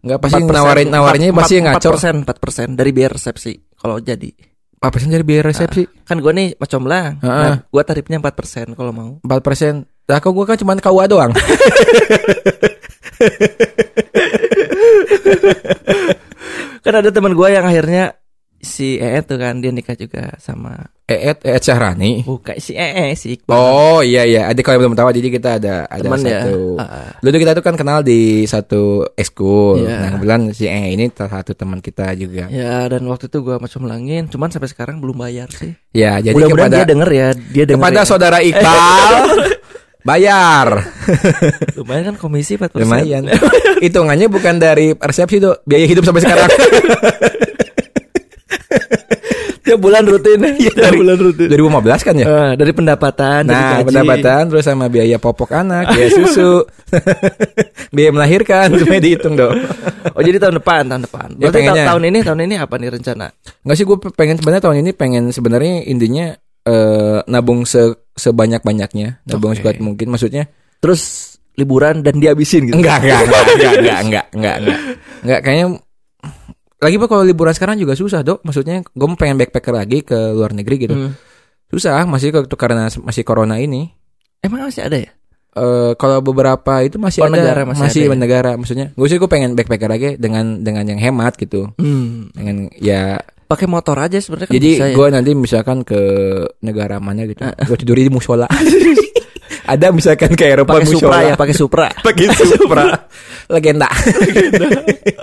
[SPEAKER 2] Enggak pasti nawarin nawarnya pasti ngaco.
[SPEAKER 1] 4%, 4% dari biaya resepsi kalau jadi.
[SPEAKER 2] Apa persen dari biaya resepsi?
[SPEAKER 1] Kan gua nih macam lah.
[SPEAKER 2] Ah.
[SPEAKER 1] Nah, gua tarifnya 4% kalau mau.
[SPEAKER 2] Empat persen. Lah kok gue kan cuma KUA doang. (laughs)
[SPEAKER 1] Kan ada teman gua yang akhirnya si EE tuh kan dia nikah juga sama
[SPEAKER 2] Eet Eet Syahrani.
[SPEAKER 1] bukan si EE si Iqbal.
[SPEAKER 2] Oh iya iya. Adik kalau yang belum tahu jadi kita ada ada
[SPEAKER 1] teman ya.
[SPEAKER 2] satu.
[SPEAKER 1] Ah,
[SPEAKER 2] Dulu kita tuh kan kenal di satu ekskul.
[SPEAKER 1] Iya.
[SPEAKER 2] Nah kebetulan si E ini salah satu teman kita juga.
[SPEAKER 1] ya dan waktu itu gua macam langin, cuman sampai sekarang belum bayar sih.
[SPEAKER 2] Ya jadi
[SPEAKER 1] Mudah-mudahan
[SPEAKER 2] kepada
[SPEAKER 1] dia denger ya, dia denger.
[SPEAKER 2] kepada
[SPEAKER 1] ya.
[SPEAKER 2] saudara Iqbal bayar.
[SPEAKER 1] Lumayan kan komisi 4%.
[SPEAKER 2] Lumayan. Hitungannya bukan dari resepsi tuh biaya hidup sampai sekarang.
[SPEAKER 1] (laughs) (laughs) Tiap bulan
[SPEAKER 2] (laughs)
[SPEAKER 1] rutin. Iya, tiap bulan rutin.
[SPEAKER 2] 2015 kan ya?
[SPEAKER 1] Eh, dari pendapatan, dari
[SPEAKER 2] Nah,
[SPEAKER 1] gaji.
[SPEAKER 2] pendapatan terus sama biaya popok anak, biaya susu, (laughs) biaya melahirkan, (laughs) semuanya dihitung dong.
[SPEAKER 1] Oh jadi tahun depan, tahun depan.
[SPEAKER 2] Ya,
[SPEAKER 1] Berarti
[SPEAKER 2] pengennya.
[SPEAKER 1] ta- tahun ini, tahun ini apa nih rencana?
[SPEAKER 2] Enggak sih gue pengen sebenarnya tahun ini pengen sebenarnya intinya eh, nabung se sebanyak-banyaknya, nabung
[SPEAKER 1] Oke.
[SPEAKER 2] sekuat mungkin maksudnya.
[SPEAKER 1] Terus liburan dan dihabisin gitu.
[SPEAKER 2] Enggak, enggak, enggak, enggak, enggak, enggak, enggak, enggak. Enggak, kayaknya lagi pak kalau liburan sekarang juga susah dok maksudnya gue pengen backpacker lagi ke luar negeri gitu
[SPEAKER 1] Hmm.
[SPEAKER 2] susah masih ke- karena masih corona ini
[SPEAKER 1] Emang masih ada ya?
[SPEAKER 2] eh kalau beberapa itu masih
[SPEAKER 1] Oh,
[SPEAKER 2] ada
[SPEAKER 1] negara
[SPEAKER 2] masih,
[SPEAKER 1] masih ada ya?
[SPEAKER 2] negara maksudnya gue sih gue pengen backpacker lagi dengan dengan yang hemat gitu
[SPEAKER 1] Hmm.
[SPEAKER 2] dengan ya
[SPEAKER 1] Pakai motor aja sebenarnya kan
[SPEAKER 2] jadi
[SPEAKER 1] bisa ya. Ah.
[SPEAKER 2] gue nanti misalkan ke negara mana gitu gue tidur di musola (laughs) ada misalkan ke Eropa
[SPEAKER 1] pakai Supra ya,
[SPEAKER 2] musola
[SPEAKER 1] pakai Supra.
[SPEAKER 2] (laughs) pakai supra legenda (laughs)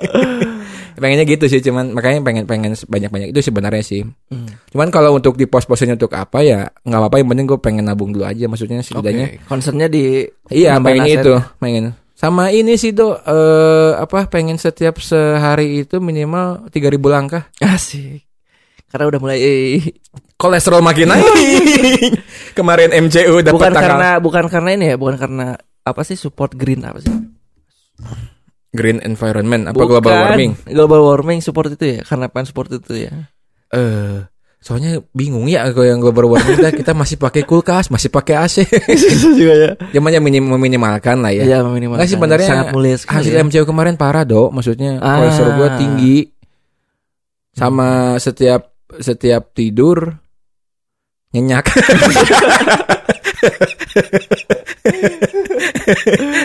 [SPEAKER 2] pengennya gitu sih cuman makanya pengen pengen banyak banyak itu sebenarnya sih
[SPEAKER 1] Hmm.
[SPEAKER 2] cuman kalau untuk di pos-posnya untuk apa ya nggak apa-apa yang penting gue pengen nabung dulu aja maksudnya setidaknya
[SPEAKER 1] Oke. Concernnya di
[SPEAKER 2] Iya,
[SPEAKER 1] penambahan
[SPEAKER 2] pengen
[SPEAKER 1] aset.
[SPEAKER 2] itu, pengen. Sama ini sih tuh eh apa pengen setiap sehari itu minimal 3000 langkah.
[SPEAKER 1] Asik. Karena udah mulai eh,
[SPEAKER 2] Kolesterol makin naik. (laughs) Kemarin MCU dapat
[SPEAKER 1] bukan
[SPEAKER 2] tanggal
[SPEAKER 1] karena bukan karena ini ya, bukan karena apa sih support green apa sih?
[SPEAKER 2] Green environment apa
[SPEAKER 1] Bukan.
[SPEAKER 2] global warming?
[SPEAKER 1] Global warming support itu ya. Karena apaan support itu
[SPEAKER 2] (laughs)
[SPEAKER 1] ya?
[SPEAKER 2] Eh, soalnya bingung ya kalau yang global warming kita, kita masih pakai kulkas, masih pakai AC.
[SPEAKER 1] Itu juga ya.
[SPEAKER 2] (laughs) Cuman yang minim- meminimalkan lah ya.
[SPEAKER 1] Iya, meminimalkan.
[SPEAKER 2] Nggak sih, sebenarnya
[SPEAKER 1] sangat mulia sekali.
[SPEAKER 2] Kan Hasil
[SPEAKER 1] ya.
[SPEAKER 2] MCU kemarin parah dok, maksudnya
[SPEAKER 1] Ah. Hmm.
[SPEAKER 2] kolesterol gua tinggi. Sama setiap setiap tidur
[SPEAKER 1] (laughs)
[SPEAKER 2] nyenyak.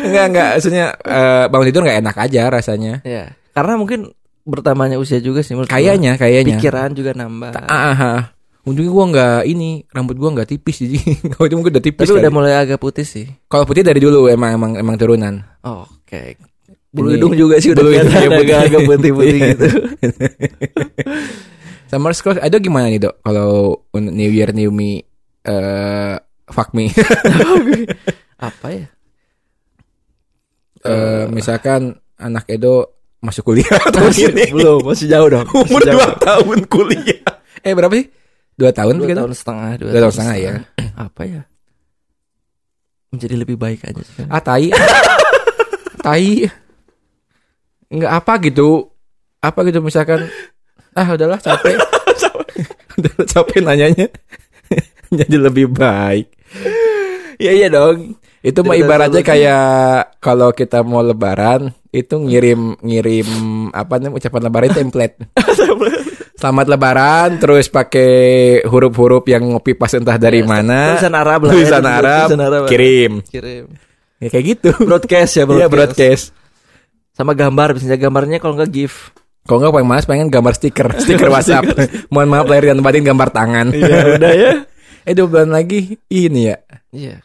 [SPEAKER 2] enggak enggak, maksudnya eh, bangun tidur nggak enak aja rasanya.
[SPEAKER 1] Iya. Karena mungkin bertambahnya usia juga sih menurut gua.
[SPEAKER 2] Kayaknya kayaknya.
[SPEAKER 1] Iya. pikiran juga nambah.
[SPEAKER 2] Ah, ah, ah. Untungnya gua nggak ini, rambut gua nggak tipis jadi (laughs) kalau itu mungkin udah tipis.
[SPEAKER 1] Tapi udah
[SPEAKER 2] kali.
[SPEAKER 1] mulai agak putih sih.
[SPEAKER 2] Kalau putih dari dulu emang emang emang turunan.
[SPEAKER 1] Oke. Bulu
[SPEAKER 2] Ini-
[SPEAKER 1] hidung juga sih udah
[SPEAKER 2] bulu hidung
[SPEAKER 1] kelihatan
[SPEAKER 2] juga putih.
[SPEAKER 1] agak-agak putih-putih
[SPEAKER 2] Iya.
[SPEAKER 1] gitu.
[SPEAKER 2] Summer Scrolls ada gimana nih dok? Kalau un- New Year New Me eh fuck me.
[SPEAKER 1] Apa ya?
[SPEAKER 2] Eh, misalkan anak Edo masuk kuliah (laughs) atau
[SPEAKER 1] Masih,
[SPEAKER 2] gini.
[SPEAKER 1] belum, masih jauh dong. Masih
[SPEAKER 2] umur
[SPEAKER 1] jauh.
[SPEAKER 2] 2 tahun kuliah. Eh berapa sih? 2 tahun
[SPEAKER 1] Dua
[SPEAKER 2] gitu.
[SPEAKER 1] tahun setengah, dua,
[SPEAKER 2] Dua tahun setengah, ya.
[SPEAKER 1] setengah. Apa ya? Menjadi lebih baik aja sih.
[SPEAKER 2] Ah tai. tai. Enggak apa gitu. Apa gitu misalkan ah udahlah capek. udahlah capek nanyanya. (laughs) Jadi lebih baik. ya iya dong. Itu mah
[SPEAKER 1] Jadi
[SPEAKER 2] ibaratnya
[SPEAKER 1] resolusi.
[SPEAKER 2] kayak kalau kita mau lebaran itu ngirim ngirim apa namanya ucapan lebaran template. Selamat lebaran terus pakai huruf-huruf yang ngopi pas entah dari
[SPEAKER 1] Ya,
[SPEAKER 2] mana.
[SPEAKER 1] Tulisan Arab lah. ya,
[SPEAKER 2] Tulisan Arab,
[SPEAKER 1] tulisan Arab.
[SPEAKER 2] kirim.
[SPEAKER 1] Kirim.
[SPEAKER 2] Ya kayak gitu.
[SPEAKER 1] Broadcast ya, broadcast.
[SPEAKER 2] Iya broadcast.
[SPEAKER 1] Sama gambar, biasanya gambarnya kalau nggak GIF.
[SPEAKER 2] Kalau nggak paling males pengen gambar
[SPEAKER 1] (laughs)
[SPEAKER 2] stiker, stiker WhatsApp. Mohon maaf lahir dan batin gambar tangan. Iya udah ya. (laughs) Eh dua bulan lagi ini ya.
[SPEAKER 1] Iya.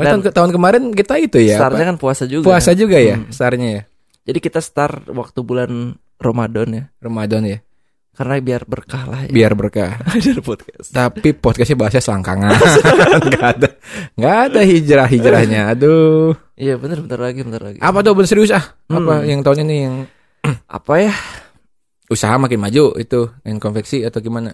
[SPEAKER 2] Bahkan
[SPEAKER 1] Dan-
[SPEAKER 2] tahun, tahun kemarin kita itu ya.
[SPEAKER 1] Startnya
[SPEAKER 2] apa?
[SPEAKER 1] kan puasa juga.
[SPEAKER 2] Puasa juga ya,
[SPEAKER 1] Hmm.
[SPEAKER 2] startnya ya.
[SPEAKER 1] Jadi kita start waktu bulan Ramadan ya.
[SPEAKER 2] Ramadan ya,
[SPEAKER 1] Karena biar berkah lah (laughs) ya.
[SPEAKER 2] biar berkah.
[SPEAKER 1] Ada podcast.
[SPEAKER 2] Tapi podcastnya bahasnya selangkangan. (laughs) Nggak ada, nggak ada hijrah
[SPEAKER 1] (laughs)
[SPEAKER 2] hijrahnya. Aduh.
[SPEAKER 1] Iya bener bentar lagi bentar lagi.
[SPEAKER 2] Apa tuh bener serius ah? Apa
[SPEAKER 1] Hmm.
[SPEAKER 2] yang tahun ini yang
[SPEAKER 1] Apa ya?
[SPEAKER 2] usaha makin maju itu yang konveksi atau gimana?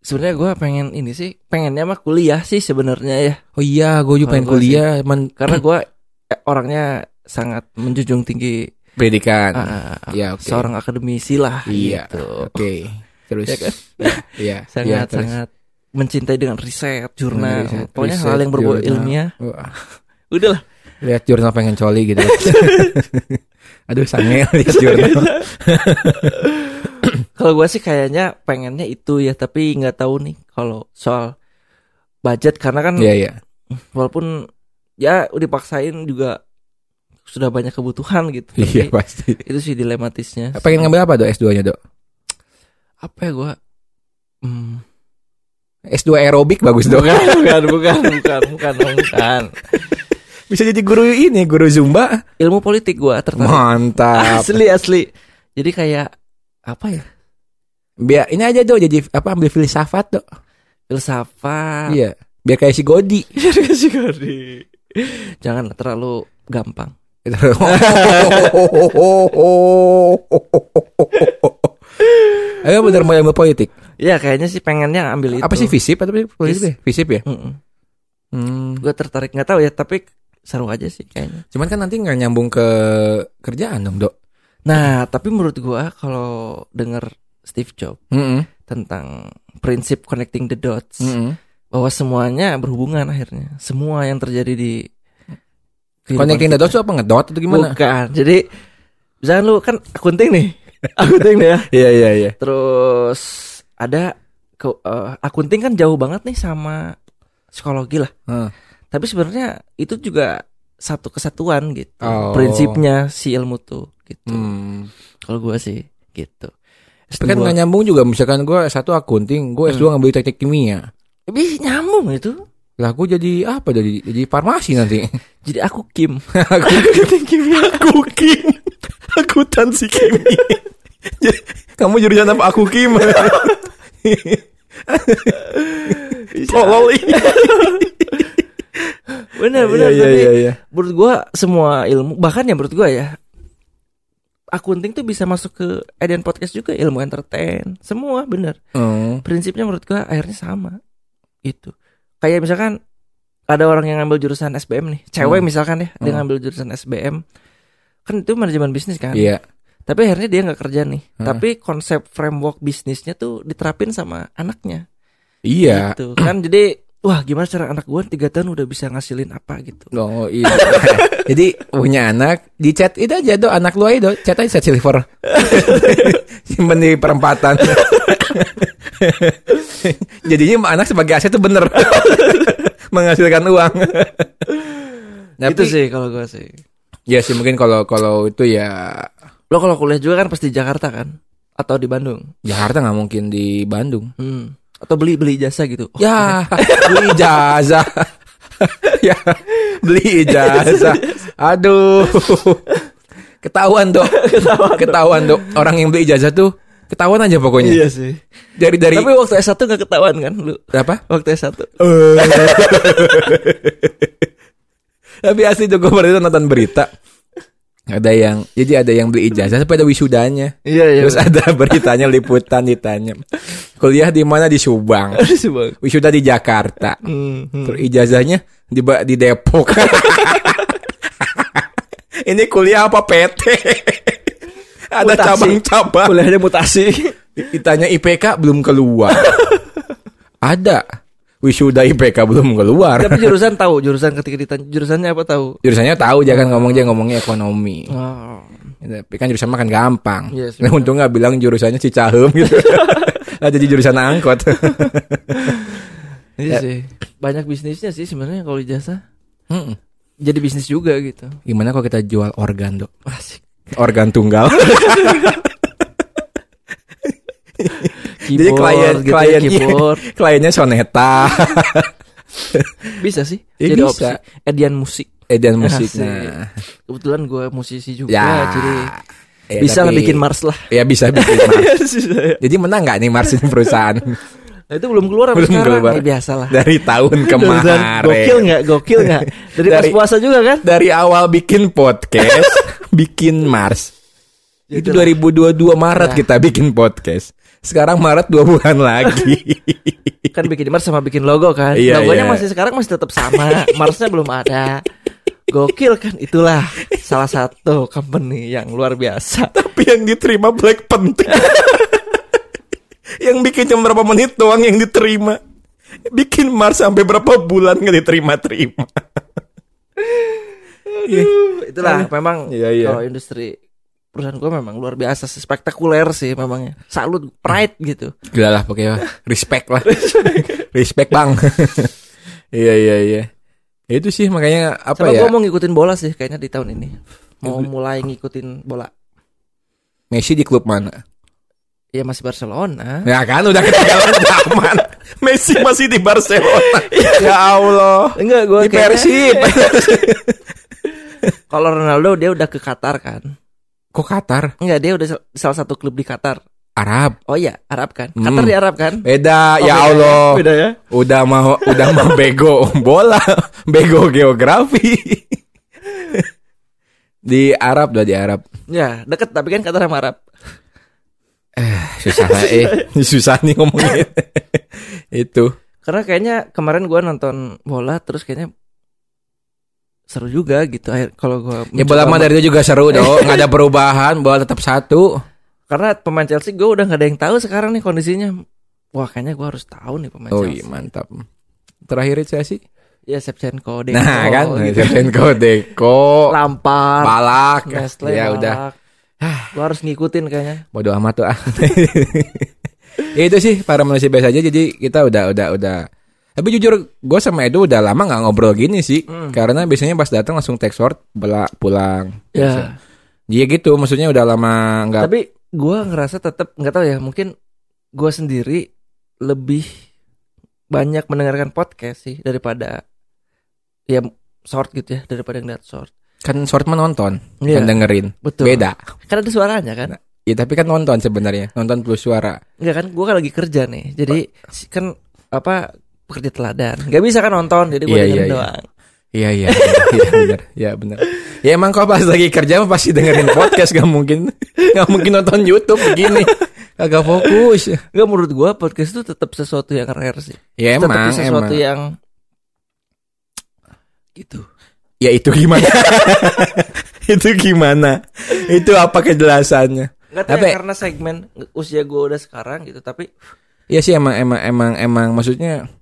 [SPEAKER 1] Sebenarnya gue pengen ini sih, pengennya mah kuliah sih sebenarnya ya.
[SPEAKER 2] Oh iya, gue juga pengen
[SPEAKER 1] Kalau gua sih-
[SPEAKER 2] kuliah, cuman
[SPEAKER 1] Karena gue orangnya sangat menjunjung tinggi
[SPEAKER 2] pendidikan.
[SPEAKER 1] ah, ah,
[SPEAKER 2] ya, oke.
[SPEAKER 1] seorang akademisi lah.
[SPEAKER 2] Iya.
[SPEAKER 1] gitu.
[SPEAKER 2] Oke. Terus.
[SPEAKER 1] Ya kan?
[SPEAKER 2] (laughs) Iya. iya,
[SPEAKER 1] Sangat
[SPEAKER 2] terus.
[SPEAKER 1] sangat mencintai dengan riset, jurnal,
[SPEAKER 2] Riset,
[SPEAKER 1] pokoknya
[SPEAKER 2] riset,
[SPEAKER 1] hal yang berbau
[SPEAKER 2] jurnal.
[SPEAKER 1] ilmiah.
[SPEAKER 2] Wah,
[SPEAKER 1] Udahlah.
[SPEAKER 2] lihat jurnal pengen coli gitu. (laughs) Aduh, sange ya, lihat jurnal.
[SPEAKER 1] Kalau gue sih kayaknya pengennya itu ya, tapi nggak tahu nih kalau soal budget karena kan
[SPEAKER 2] (laughs) Iya, iya.
[SPEAKER 1] walaupun ya dipaksain juga sudah banyak kebutuhan gitu. Tapi
[SPEAKER 2] Iya, pasti.
[SPEAKER 1] itu sih dilematisnya.
[SPEAKER 2] Pengen ngambil apa, Dok? S2-nya, Dok?
[SPEAKER 1] apa ya gue? Hmm.
[SPEAKER 2] S2 aerobik bagus, Dok.
[SPEAKER 1] Bukan, bukan, bukan, bukan, bukan, bukan.
[SPEAKER 2] (laughs) Bisa jadi guru ini, guru Zumba.
[SPEAKER 1] Ilmu politik gue tertarik.
[SPEAKER 2] Mantap.
[SPEAKER 1] Asli, asli. Jadi kayak apa ya?
[SPEAKER 2] (laughs) Biar ini aja, Dok, jadi apa ambil filsafat, Dok.
[SPEAKER 1] Filsafat. (laughs)
[SPEAKER 2] Iya. Biar kayak si Godi.
[SPEAKER 1] Jangan terlalu gampang.
[SPEAKER 2] (laughs) Ayo bener mau ilmu politik.
[SPEAKER 1] Ya kayaknya sih pengennya ambil itu.
[SPEAKER 2] Apa sih visip atau politik? deh? Visip ya. Hmm.
[SPEAKER 1] Gue tertarik nggak tahu ya, tapi seru aja sih kayaknya.
[SPEAKER 2] Cuman kan nanti nggak nyambung ke kerjaan dong dok.
[SPEAKER 1] Nah, tapi menurut gue kalau denger Steve Jobs
[SPEAKER 2] Mm-mm.
[SPEAKER 1] tentang prinsip connecting the dots
[SPEAKER 2] Mm-mm.
[SPEAKER 1] bahwa semuanya berhubungan akhirnya. Semua yang terjadi di kehidupan
[SPEAKER 2] Connecting the
[SPEAKER 1] kita.
[SPEAKER 2] dots tuh apa ngedot atau gimana?
[SPEAKER 1] Bukan. Jadi misalkan lu kan akunting
[SPEAKER 2] (laughs)
[SPEAKER 1] nih. akunting nih ya.
[SPEAKER 2] Iya iya iya.
[SPEAKER 1] Terus ada ke, eh, akunting kan jauh banget nih sama psikologi lah.
[SPEAKER 2] Hmm.
[SPEAKER 1] Tapi sebenarnya itu juga satu kesatuan gitu.
[SPEAKER 2] Oh.
[SPEAKER 1] Prinsipnya si ilmu tuh gitu.
[SPEAKER 2] Hmm.
[SPEAKER 1] Kalau gua sih gitu.
[SPEAKER 2] Tapi kan nggak
[SPEAKER 1] S2.
[SPEAKER 2] nyambung juga. Misalkan gue satu akunting, gue S2 ngambil teknik kimia.
[SPEAKER 1] Ih, nyambung itu.
[SPEAKER 2] Lah gue jadi apa? Jadi jadi farmasi nanti.
[SPEAKER 1] Jadi aku Kim.
[SPEAKER 2] (laughs) Aku
[SPEAKER 1] Akunting kimia.
[SPEAKER 2] aku kim. Akuntansi
[SPEAKER 1] (laughs)
[SPEAKER 2] kimia. (laughs)
[SPEAKER 1] Iya.
[SPEAKER 2] Kamu jurusan apa? Aku kim. (laughs) Tolol ini.
[SPEAKER 1] Bener bener.
[SPEAKER 2] Iya
[SPEAKER 1] Tapi
[SPEAKER 2] iya iya.
[SPEAKER 1] menurut gua semua ilmu bahkan ya menurut gua ya akunting tuh bisa masuk ke Eden podcast juga ilmu entertain semua bener
[SPEAKER 2] Hmm.
[SPEAKER 1] prinsipnya menurut gua akhirnya sama itu kayak misalkan ada orang yang ngambil jurusan SBM nih cewek
[SPEAKER 2] Hmm.
[SPEAKER 1] misalkan ya dia
[SPEAKER 2] Hmm.
[SPEAKER 1] ngambil jurusan SBM kan itu manajemen bisnis kan
[SPEAKER 2] Iya.
[SPEAKER 1] tapi akhirnya dia nggak kerja nih
[SPEAKER 2] Heeh.
[SPEAKER 1] tapi konsep framework bisnisnya tuh diterapin sama anaknya
[SPEAKER 2] Iya.
[SPEAKER 1] gitu kan jadi wah gimana cara anak gue tiga tahun udah bisa ngasilin apa gitu
[SPEAKER 2] Oh iya. (laughs) Jadi punya anak di chat itu aja do anak lu aja do chat aja chat silver. (laughs) Simpen di perempatan. (laughs) Jadinya anak sebagai aset itu bener (laughs) menghasilkan uang. Tapi,
[SPEAKER 1] itu sih kalau gue sih
[SPEAKER 2] Ya sih mungkin kalau kalau itu ya
[SPEAKER 1] lo kalau kuliah juga kan pasti di Jakarta kan atau di Bandung
[SPEAKER 2] Jakarta nggak mungkin di Bandung.
[SPEAKER 1] Hmm. Atau beli beli jasa gitu. Oh,
[SPEAKER 2] ya beli ijazah. ya beli ijazah. Aduh. Ketahuan dok. Ketahuan, dok. Orang yang beli ijazah tuh ketahuan aja pokoknya.
[SPEAKER 1] sih.
[SPEAKER 2] Dari
[SPEAKER 1] Iya.
[SPEAKER 2] dari
[SPEAKER 1] Tapi waktu S1 gak ketahuan kan lu?
[SPEAKER 2] apa?
[SPEAKER 1] Waktu S1.
[SPEAKER 2] Tapi asli tuh gue pernah itu nonton berita. Ada yang jadi ada yang beli ijazah tapi ada wisudanya.
[SPEAKER 1] Iya,
[SPEAKER 2] Terus
[SPEAKER 1] (laughs)
[SPEAKER 2] ada beritanya liputan ditanya. Kuliah di mana di Subang.
[SPEAKER 1] Harus Bang.
[SPEAKER 2] Wisuda di Jakarta.
[SPEAKER 1] Hmm, hmm.
[SPEAKER 2] Terus ijazahnya di Ba- di Depok. (laughs) Ini kuliah apa PT? (laughs) Ada
[SPEAKER 1] Mutasi.
[SPEAKER 2] cabang-cabang.
[SPEAKER 1] Kuliahnya mutasi.
[SPEAKER 2] Ditanya IPK belum (laughs) keluar. Ada. Wisuda IPK belum keluar.
[SPEAKER 1] Tapi jurusan tahu, jurusan ketika ditanya jurusannya apa tahu?
[SPEAKER 2] Jurusannya tahu jangan ngomong dia ngomongnya ekonomi.
[SPEAKER 1] Oh.
[SPEAKER 2] Tapi kan jurusan makan gampang.
[SPEAKER 1] Yes,
[SPEAKER 2] nah, untung nggak bilang jurusannya Cicahem (laughs) gitu. nah, jadi jurusan (laughs) angkot.
[SPEAKER 1] Iya
[SPEAKER 2] Ya.
[SPEAKER 1] sih. Banyak bisnisnya sih sebenarnya kalau jasa.
[SPEAKER 2] Mm-mm.
[SPEAKER 1] Jadi bisnis juga gitu.
[SPEAKER 2] Gimana kalau kita jual organ, Dok?
[SPEAKER 1] Asik.
[SPEAKER 2] Organ tunggal. Jadi
[SPEAKER 1] Keyboard,
[SPEAKER 2] klien
[SPEAKER 1] gitu ya,
[SPEAKER 2] klien
[SPEAKER 1] keyboard.
[SPEAKER 2] (laughs) kliennya
[SPEAKER 1] (laughs)
[SPEAKER 2] Soneta
[SPEAKER 1] Bisa sih.
[SPEAKER 2] Ya,
[SPEAKER 1] jadi
[SPEAKER 2] bisa.
[SPEAKER 1] opsi. Edian musik.
[SPEAKER 2] Edian
[SPEAKER 1] Nah, Asik.
[SPEAKER 2] musiknya.
[SPEAKER 1] Kebetulan gue musisi juga
[SPEAKER 2] Ya.
[SPEAKER 1] jadi
[SPEAKER 2] Ya,
[SPEAKER 1] bisa lah
[SPEAKER 2] tapi-
[SPEAKER 1] bikin Mars lah.
[SPEAKER 2] Ya
[SPEAKER 1] (laughs)
[SPEAKER 2] bisa bikin Mars.
[SPEAKER 1] Sisa ya.
[SPEAKER 2] Jadi menang nggak nih Mars ini perusahaan
[SPEAKER 1] Nah, itu belum keluar sampai
[SPEAKER 2] (laughs) Belum
[SPEAKER 1] sekarang.
[SPEAKER 2] keluar.
[SPEAKER 1] Ya, biasalah. (laughs)
[SPEAKER 2] dari tahun
[SPEAKER 1] Dosan,
[SPEAKER 2] kemarin.
[SPEAKER 1] Gokil nggak? Gokil nggak? Dari, pas
[SPEAKER 2] Dari-
[SPEAKER 1] puasa juga
[SPEAKER 2] (laughs)
[SPEAKER 1] kan?
[SPEAKER 2] Dari awal bikin
[SPEAKER 1] (laughs)
[SPEAKER 2] podcast, bikin Mars.
[SPEAKER 1] Gitu
[SPEAKER 2] Itu
[SPEAKER 1] lah.
[SPEAKER 2] 2022
[SPEAKER 1] Ya.
[SPEAKER 2] Maret kita bikin podcast. Sekarang Maret dua bulan lagi.
[SPEAKER 1] (laughs) Kan bikin Mars sama bikin logo kan?
[SPEAKER 2] Iya,
[SPEAKER 1] Logonya
[SPEAKER 2] iya.
[SPEAKER 1] masih sekarang masih tetap sama. Marsnya belum ada. Gokil kan? Itulah salah satu company yang luar biasa.
[SPEAKER 2] Tapi yang diterima Black (laughs) penting. yang bikin cuma berapa menit doang yang diterima. Bikin Mars sampai berapa bulan nggak diterima-terima.
[SPEAKER 1] Itulah memang
[SPEAKER 2] Iya, iya.
[SPEAKER 1] kalau industri perusahaan gue memang luar biasa sih spektakuler sih memangnya salut pride gitu
[SPEAKER 2] Gila lah pokoknya respect (laughs) lah. respect (laughs) bang. iya iya iya. Itu sih makanya apa
[SPEAKER 1] sama
[SPEAKER 2] ya?
[SPEAKER 1] gue mau ngikutin bola sih kayaknya di tahun ini mau mulai ngikutin bola
[SPEAKER 2] Messi di klub mana?
[SPEAKER 1] ya masih Barcelona
[SPEAKER 2] Ya kan udah ketinggalan (laughs) zaman. Messi masih di Barcelona. (laughs) ya Allah.
[SPEAKER 1] enggak gue
[SPEAKER 2] Di Persib.
[SPEAKER 1] Kalau Ronaldo dia udah ke Qatar kan?
[SPEAKER 2] Kok Qatar?
[SPEAKER 1] Enggak, dia udah sal- salah satu klub di Qatar.
[SPEAKER 2] Arab.
[SPEAKER 1] Oh iya, Arab kan?
[SPEAKER 2] Hmm.
[SPEAKER 1] Qatar di Arab kan? Oh,
[SPEAKER 2] Beda ya
[SPEAKER 1] beda
[SPEAKER 2] Allah.
[SPEAKER 1] Beda ya?
[SPEAKER 2] Udah mau udah mau bego bola, bego geografi. di Arab udah di Arab.
[SPEAKER 1] Ya, deket tapi kan Qatar sama Arab.
[SPEAKER 2] Susah (laughs) lah, eh. Susah nih ngomongin. Itu.
[SPEAKER 1] Karena kayaknya kemarin gua nonton bola terus kayaknya seru juga gitu akhir kalau gua
[SPEAKER 2] Ya bola mah
[SPEAKER 1] mencoba-
[SPEAKER 2] dari itu juga seru dong. (laughs) Nggak ada perubahan, bola tetap satu.
[SPEAKER 1] karena pemain Chelsea gua udah nggak ada yang tahu sekarang nih kondisinya wah kayaknya gua harus tahu nih pemain
[SPEAKER 2] Oh
[SPEAKER 1] Chelsea
[SPEAKER 2] iya mantap. Terakhir itu sih.
[SPEAKER 1] ya Shevchenko Deco,
[SPEAKER 2] Nah kan,
[SPEAKER 1] gitu.
[SPEAKER 2] Shevchenko, Deko,
[SPEAKER 1] Lampard
[SPEAKER 2] Palak.
[SPEAKER 1] Mestre
[SPEAKER 2] Ya udah.
[SPEAKER 1] gua harus ngikutin kayaknya
[SPEAKER 2] Bodoh amat tuh ah. (laughs) ya itu sih para manusia biasa aja jadi kita udah udah udah tapi jujur gue sama Edo udah lama nggak ngobrol gini sih karena biasanya pas datang langsung text word bela- pulang
[SPEAKER 1] Hmm. ya
[SPEAKER 2] dia gitu maksudnya udah lama nggak
[SPEAKER 1] Tapi gua ngerasa tetap nggak tahu ya mungkin gua sendiri lebih banyak mendengarkan podcast sih daripada ya short gitu ya daripada ngeliat short.
[SPEAKER 2] kan short menonton
[SPEAKER 1] Iya.
[SPEAKER 2] kan dengerin
[SPEAKER 1] Betul.
[SPEAKER 2] beda
[SPEAKER 1] Karena ada suaranya kan.
[SPEAKER 2] ya tapi kan nonton sebenarnya nonton plus suara
[SPEAKER 1] Enggak kan gua kan lagi kerja nih. Jadi si- kan apa pekerja teladan. Gak bisa kan nonton jadi gua
[SPEAKER 2] Iya,
[SPEAKER 1] dengerin
[SPEAKER 2] iya, iya.
[SPEAKER 1] doang.
[SPEAKER 2] iya
[SPEAKER 1] (laughs)
[SPEAKER 2] iya iya benar ya benar ya emang kalau pas lagi kerja mah pasti dengerin podcast nggak mungkin nggak mungkin nonton YouTube
[SPEAKER 1] (laughs)
[SPEAKER 2] begini agak fokus
[SPEAKER 1] Enggak menurut gua podcast itu tetap sesuatu yang rare sih.
[SPEAKER 2] ya
[SPEAKER 1] Tetep
[SPEAKER 2] emang
[SPEAKER 1] sesuatu
[SPEAKER 2] emang
[SPEAKER 1] yang gitu.
[SPEAKER 2] Ya itu gimana? (laughs) itu gimana? Itu apa kejelasannya?
[SPEAKER 1] Nggak tahu
[SPEAKER 2] Tapi
[SPEAKER 1] ya, karena segmen usia gue udah sekarang gitu tapi
[SPEAKER 2] Iya sih emang emang emang emang maksudnya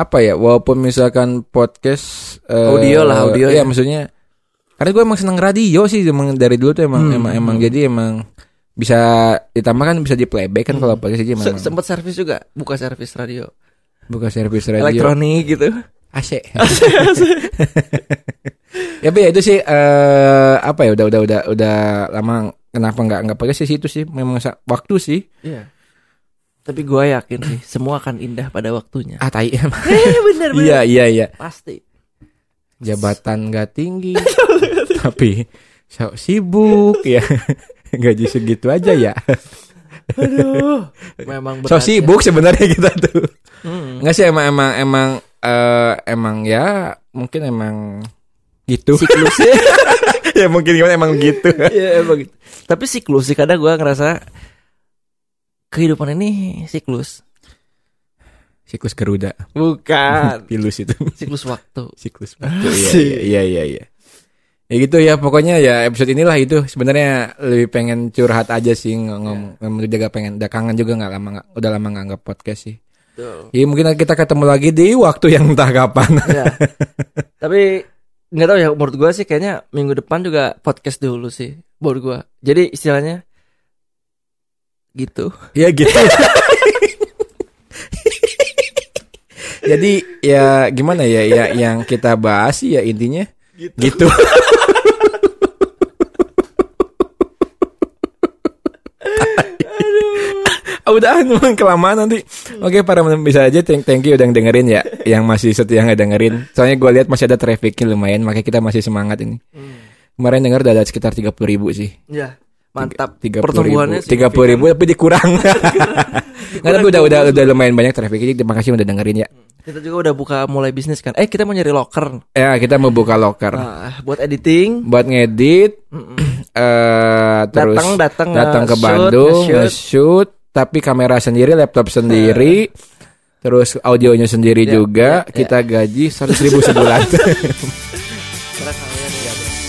[SPEAKER 2] apa ya? Walaupun misalkan podcast eh,
[SPEAKER 1] Audio lah, audio ya.
[SPEAKER 2] Iya maksudnya karena gue emang seneng radio sih emang dari dulu tuh
[SPEAKER 1] Hmm.
[SPEAKER 2] emang emang emang jadi emang bisa ditambah kan bisa di playback kan kalau podcast aja emang,
[SPEAKER 1] Hmm. se- sempet servis juga buka servis radio,
[SPEAKER 2] buka servis radio.
[SPEAKER 1] elektronik gitu
[SPEAKER 2] AC. (laughs) ya tapi ya itu sih eh apa ya udah udah udah udah lama kenapa nggak nggak pakai sih itu sih memang sa- waktu sih
[SPEAKER 1] Iya. tapi gue yakin sih semua akan indah pada waktunya
[SPEAKER 2] ah tai emang.
[SPEAKER 1] eh bener bener
[SPEAKER 2] (laughs) iya iya iya
[SPEAKER 1] pasti
[SPEAKER 2] jabatan nggak (laughs) tinggi tapi sok sibuk ya (laughs) gaji segitu aja ya (laughs)
[SPEAKER 1] aduh memang berat
[SPEAKER 2] sok
[SPEAKER 1] ya.
[SPEAKER 2] sibuk sebenarnya kita tuh
[SPEAKER 1] Hmm.
[SPEAKER 2] nggak sih emang emang emang eh, emang ya mungkin emang gitu
[SPEAKER 1] siklusnya
[SPEAKER 2] (laughs) ya mungkin gimana emang gitu
[SPEAKER 1] (laughs) Iya emang gitu. Tapi siklus sih kadang gue ngerasa kehidupan ini siklus.
[SPEAKER 2] siklus Garuda
[SPEAKER 1] Bukan.
[SPEAKER 2] Ah. pilus itu
[SPEAKER 1] (laughs) siklus waktu.
[SPEAKER 2] siklus waktu. (laughs) Iya, iya iya iya ya gitu ya pokoknya ya episode inilah itu sebenarnya lebih pengen curhat aja sih ng- ngomong ngomong jaga pengen udah kangen juga nggak lama nggak- udah lama nggak nggak podcast sih ya mungkin kita ketemu lagi di waktu yang entah kapan
[SPEAKER 1] Ya. Tapi nggak tahu ya menurut gue sih kayaknya minggu depan juga podcast dulu sih buat gue. Jadi istilahnya gitu.
[SPEAKER 2] ya gitu jadi ya gimana ya ya yang kita bahas sih ya intinya gitu, udah memang kelamaan nanti oke para men- bisa aja thank, thank you udah dengerin ya yang masih setia nggak dengerin soalnya gue lihat masih ada trafficnya lumayan makanya kita masih semangat ini
[SPEAKER 1] Hmm.
[SPEAKER 2] kemarin denger udah ada sekitar 30.000 ribu sih
[SPEAKER 1] Ya. Mantap.
[SPEAKER 2] tiga
[SPEAKER 1] Pertumbuhannya sih
[SPEAKER 2] tiga puluh ribu tapi dikurang nggak tapi udah udah udah lumayan banyak traffic jadi terima kasih udah dengerin ya
[SPEAKER 1] Kita juga udah buka mulai bisnis kan. Eh kita mau nyari locker.
[SPEAKER 2] ya kita mau buka locker
[SPEAKER 1] Nah, buat editing.
[SPEAKER 2] buat ngedit eh terus
[SPEAKER 1] Hmm. Datang- datang
[SPEAKER 2] datang ke
[SPEAKER 1] nge-shoot,
[SPEAKER 2] Bandung
[SPEAKER 1] nge-shoot.
[SPEAKER 2] nge-shoot tapi kamera sendiri laptop sendiri
[SPEAKER 1] Hmm.
[SPEAKER 2] terus audionya
[SPEAKER 1] Ya, (laughs)
[SPEAKER 2] sendiri juga kita gaji seratus ribu sebulan
[SPEAKER 1] Kita kalian ya.